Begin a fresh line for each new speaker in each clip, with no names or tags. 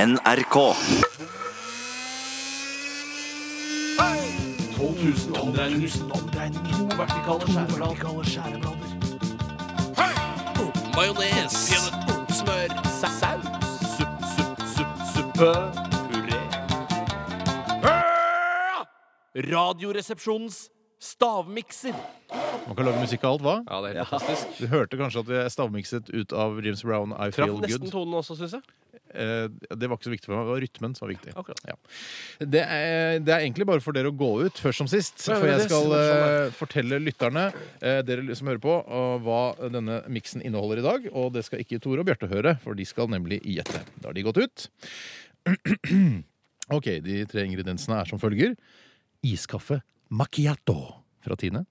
NRK.
12 000 omdreininger. To vertikale skjæreblader.
Majones. Smør. Saus.
Supp, supp, supp, suppe. Puré. Ah! Radioresepsjonens stavmikser.
Man kan lage musikk av alt, hva?
Ja, det er helt fantastisk.
Du hørte kanskje at jeg stavmikset ut av James Brown I
Traff
Feel
nesten
Good.
tonen også, syns jeg.
Eh, det var ikke så viktig for meg. Det var rytmen som var viktig.
Akkurat.
Ja. Det, er, det er egentlig bare for dere å gå ut, først som sist.
Ja,
For
det er
jeg
det.
skal
Sånn
eh, fortelle lytterne, eh, dere som hører på, eh, hva denne miksen inneholder i dag. Og det skal ikke Tore og Bjarte høre, for de skal nemlig gjette. Da har de gått ut. OK, de tre ingrediensene er som følger. Iskaffe macchiato fra Tine.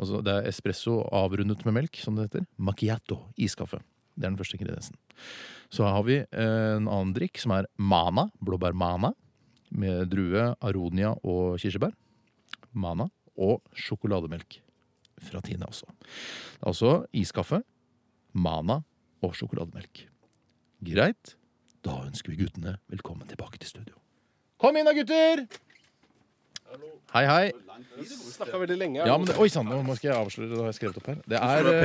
Altså det er espresso avrundet med melk, som det heter. Macchiato. Iskaffe. Det er den første ingrediensen. Så har vi eh, en annen drikk som er mana, blåbærmana, med drue, aronia og kirsebær. Mana. Og sjokolademelk fra Tine også. Det er også iskaffe, mana og sjokolademelk. Greit. Da ønsker vi guttene velkommen tilbake til studio. Kom inn da, gutter! Hei, hei.
Snakka veldig lenge.
Ja, men det, oi sann, nå må skal jeg avsløre det har jeg skrevet opp her. Det er, eh,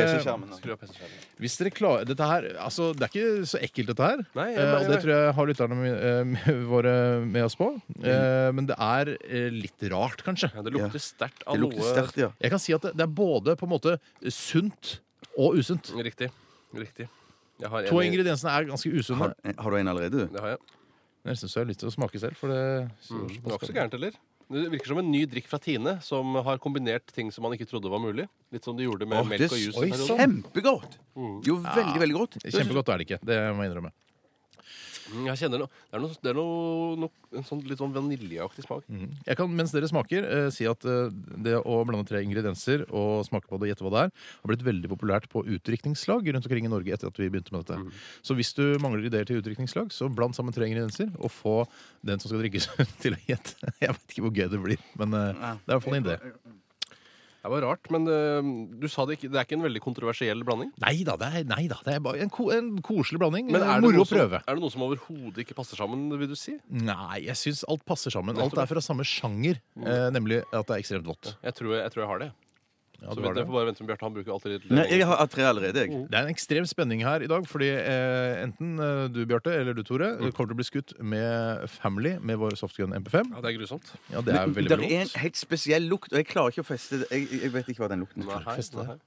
Skru av PC-skjermen.
hvis dere klarer, dette her, altså, det er ikke så ekkelt, dette her.
Nei, jeg,
Eh, og det
jeg,
tror jeg har lytterne mi- eh, med- våre med oss på. Eh, Men det er eh, litt rart, kanskje.
ja, det lukter sterkt av
Det lukter
noe
sterkt, ja.
Jeg kan si at det det er både på en måte sunt og usunt.
Riktig. Riktig. Jeg har en
To
i-
ingrediensene er ganske usunne.
Har, har du en allerede, du?
Det har jeg. Mm,
Jeg syns jeg har lyst til å smake selv. For det,
Det var ikke så gærent, eller? Det virker som en ny drikk fra Tine, som har kombinert ting som man ikke trodde var mulig. Litt som de gjorde med
Åh,
melk
det
og juice.
oi,
en periode.
sånn.
Kjempegodt! Jo, veldig, veldig godt.
Kjempegodt er det ikke. Det må jeg innrømme.
Mm, Jeg kjenner noe. Det er, noe, det er noe, noe, en sånn litt sånn vaniljeaktig smak.
Jeg kan mens dere smaker, eh, si at eh, det å blande tre ingredienser og smake på det og gjette hva det er, har blitt veldig populært på utdrikningslag rundt omkring i Norge etter at vi begynte med
Mm.
dette. Så hvis du mangler ideer til utdrikningslag, så bland sammen tre ingredienser og få den som skal drikkes til å gjette. Jeg vet ikke hvor gøy det blir, men eh, det er i hvert fall en idé.
Det var rart, men eh, du sa det ikke. Det er ikke en veldig kontroversiell blanding.
Nei da, det er, nei da, det er bare en, ko en koselig blanding. Eh,
Men er det,
Moro
noe
å
som,
prøve.
er det noe som overhodet ikke passer sammen, vil du si?
Nei, jeg syns alt passer sammen. Alt er fra samme sjanger,
Mm.
eh, nemlig at det er ekstremt vått.
Jeg tror jeg, tror jeg har det.
Ja,
så
du
vi
har det.
får bare vente med Bjarte. Han bruker alltid litt
Nei, jeg har tre allerede, jeg.
Det er en ekstrem spenning her i dag, fordi eh, enten eh, du, Bjarte, eller du, Tore, kommer til å bli skutt med Family med vår softgun MP5.
Ja, det er grusomt.
Ja, det er veldig
Det er
veldig
en
godt.
helt spesiell lukt, og jeg klarer ikke å feste det. Jeg, jeg vet ikke hva den lukten
Nei,
er.
nei,
feste det.
nei.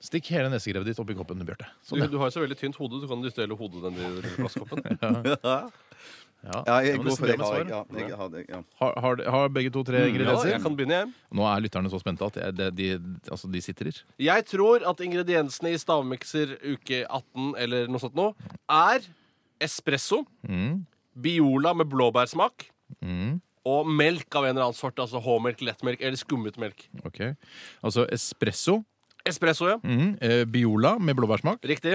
Stikk hele nesegrevet ditt oppi koppen, Bjarte.
Du,
Sånn, ja.
du har jo så veldig tynt hode. Du kan dytte hele hodet i den lille plastkoppen.
Ja,
det var
jeg går
nesten
for
det
det.
med
Har,
svaret.
jeg, ja, jeg har det ja.
Har, har, har begge to tre
Ja, jeg
ingredienser?
kan begynne, jeg.
Nå er lytterne så spente at jeg, det, de, altså, de sitrer.
Jeg tror at ingrediensene i stavmikser uke 18 eller noe sånt nå er espresso,
Mm,
Biola med blåbærsmak og melk av en eller annen sort. Altså H-melk, lettmelk eller skummet melk.
Ok. Altså espresso,
Espresso, ja.
mm, eh, Biola med blåbærsmak
Riktig.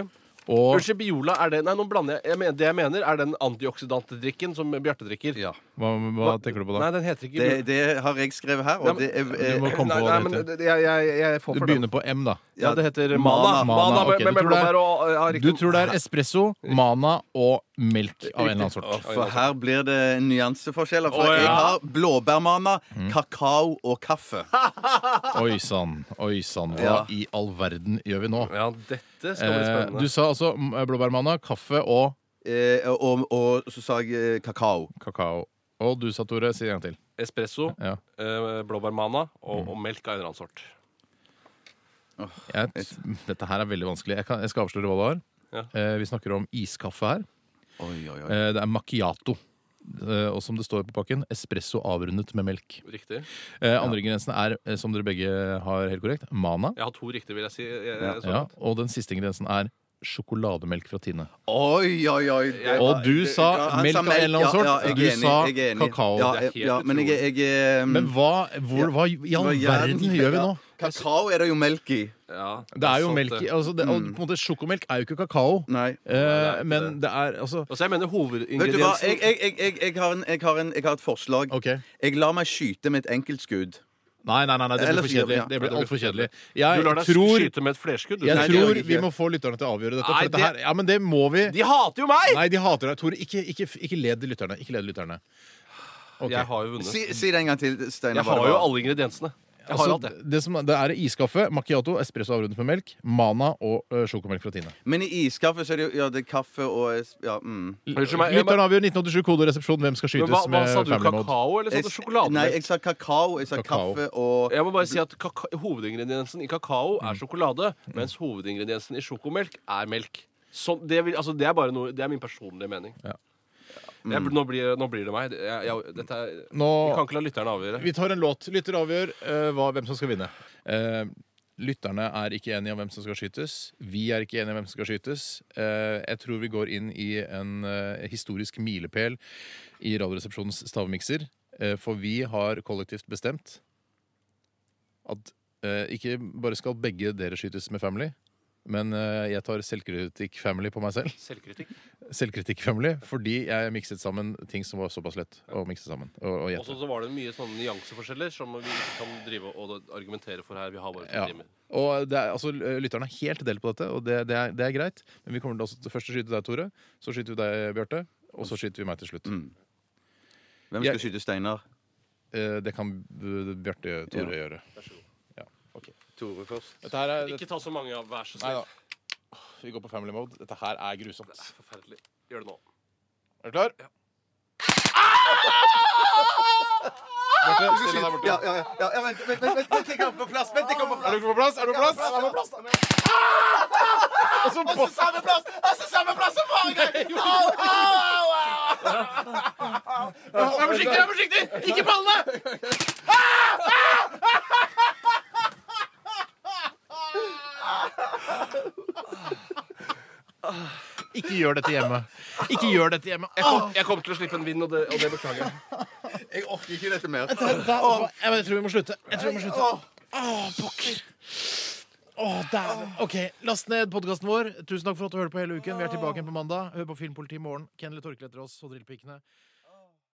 og
Unnskyld, Biola er det Nei, nå blander jeg. jeg mener, det jeg mener, er den antioksidantdrikken som Bjarte drikker.
hva, hva tenker du på
Nei,
da?
den heter ikke
Det, det har jeg skrevet her, og det er
Du må
eh,
komme
Nei,
på
nei,
hva
men
det heter.
det- jeg, jeg, jeg får
Du
for den.
begynner på M, da.
Ja, det heter
Mana,
Mana. Mana,
ok.
med,
Du
med
tror det er-
blåbær og og jeg har ikke-
Du tror det er espresso, mana og melk av en eller annen sort.
Å,
For her blir det nyanseforskjeller. For
altså. Å, ja.
jeg har blåbærmana, kakao og kaffe.
Oi sann, oi sann. Hva
Ja.
i all verden gjør vi nå?
Ja, dette skal bli
Eh,
spennende.
du sa altså mm, blåbærmanna, kaffe og
Eh, og, og så sa jeg eh, kakao.
kakao. Og du sa, Tore, si det en gang til.
Espresso,
Ja.
eh, blåbærmana og,
Mm.
og melk av en eller annen sort.
Jeg, dette her er veldig vanskelig. Jeg, kan, jeg skal avsløre hva det var.
Ja.
Eh, vi snakker om iskaffe her.
Oi, oi, oi.
Eh, det er macchiato. Eh, og som det står på pakken, espresso avrundet med melk.
Riktig.
Eh, andre ingrediensene er, eh, som dere begge har helt korrekt, mana.
Jeg har to riktige, vil jeg si. Jeg, jeg, så
Ja,
langt.
og den siste ingrediensen er sjokolademelk fra Tine.
Oi, oi, oi. Det-
Og du
det-
sa
ja, han
melk
sa
av en eller annen
ja,
sort.
ja, jeg er
Du
enig,
sa
jeg er enig.
kakao.
Ja,
Det er helt
ja men jeg, jeg, eh,
Mm.
Men hva, hvor, hva i all
hva i
verden gjør vi nå?
Kakao er det jo melk i.
Ja,
Det er jo
sant,
melk i
det. Mm.
altså det, og på en måte, Sjokomelk er jo ikke kakao.
Nei.
Eh,
Nei, det er ikke
men det er altså
Altså, jeg mener
Vet du hva,
hovedingrediensen
jeg, jeg, jeg, jeg, jeg, har, en, jeg, har, en, jeg har et forslag.
OK.
Jeg lar meg skyte med et enkeltskudd.
Nei, nei, nei, nei, det blir
Eller
for
fire,
kjedelig.
ja.
Det blir
Ja, det
altfor kjedelig.
Du lar
Jeg
deg
tror,
skyte med et flerskudd. du.
jeg
Nei, det gjør
tror
jeg
vi
ikke.
må få lytterne til å avgjøre dette.
Nei,
For dette
det-
her, ja, men det må vi.
De hater jo meg!
Nei, de hater deg. Tore, ikke, ikke, ikke led lytterne. Ikke led lytterne. Ok.
Jeg har jo vunnet.
Si, si det en gang til, Steinar.
Jeg har jo alle ingrediensene. Jeg har jo alt
Altså,
det.
det, som, det er iskaffe, macchiato, espresso avrundet med melk, Mana og ø, sjokomelk fra Tine.
Men i iskaffe så er det jo ja, det er kaffe og ja, mm.
Unnskyld meg, jeg-
Lytterne avgjør 1987 kode og resepsjon. Hvem skal skytes
Men hva, hva sa
med
du?
family mode?
Kakao eller sa du
Jeg- Nei,
sjokolademelk?
jeg sa kakao. Jeg sa
Kakao.
kaffe og
Jeg må bare si at kaka Hovedingrediensen i kakao er sjokolade, mens hovedingrediensen i sjokomelk er melk. Sånn- det, vil, altså, det, er bare noe, det er min personlige mening.
Ja. Mm.
Jeg, nå, blir, nå blir det meg. Jeg, jeg, dette er,
Nå-
vi kan ikke la lytterne avgjøre.
Vi tar en låt. Lytter avgjør eh, hva, hvem som skal vinne. Eh, lytterne er ikke enige om hvem som skal skytes. Vi er ikke enige om hvem som skal skytes. Eh, jeg tror vi går inn i en eh, historisk milepæl i Radioresepsjonens stavmikser. eh, for vi har kollektivt bestemt at eh, ikke bare skal begge dere skytes med Family, men eh, jeg tar selvkritikk Family på meg selv
Selvkritikk.
Selvkritikk family, fordi jeg mikset sammen ting som var såpass lett å mikse sammen. Og, og
Og
gjette.
så var det mye sånne nyanseforskjeller som vi ikke kan drive og argumentere for her. Vi har bare to
Ja.
timer.
Og det er, altså, Lytterne er helt delt på dette, og det, det, er, det er greit. Men vi kommer til altså, først å skyte deg, Tore. Så skyter vi deg, Bjarte. Og så skyter vi meg til slutt.
Mm. Hvem skal
Jeg-
skyte Steinar?
Eh, det kan eh, Bjarte Tore gjøre.
Tore først.
Dette her er
Ikke ta så mange av hver så
Nei da.
snill.
Vi går på family mode. Dette her er grusomt.
Forferdelig. Gjør det nå.
Er du klar? Bjarte, still deg der borte.
Ja, ja, ja, ja, ja, vent, vent, vent, vent, vent, jeg kommer på plass! Vent, jeg kommer på
Er
plass!
du på plass? Er du på plass? Ah!
Jeg kommer på plass.
Og så på-
Samme plass! Altså, samme plass som forrige gang! Au, au, au!
Vær forsiktig! vær forsiktig! Ikke ballene!
Ikke gjør dette hjemme. Ikke gjør dette hjemme.
Jeg kom, jeg kom til å slippe en vind, og det, og det beklager jeg.
Jeg orker ikke dette mer.
Jeg, jeg tror vi må slutte. Jeg tror vi må slutte. Åh, pokker. Åh, dæven. OK, last ned podkasten vår. Tusen takk for at du hørte på hele uken. Vi er tilbake igjen på mandag. Hør på Filmpolitiet i morgen. Kenneleth Torkel etter oss og Drillpikene.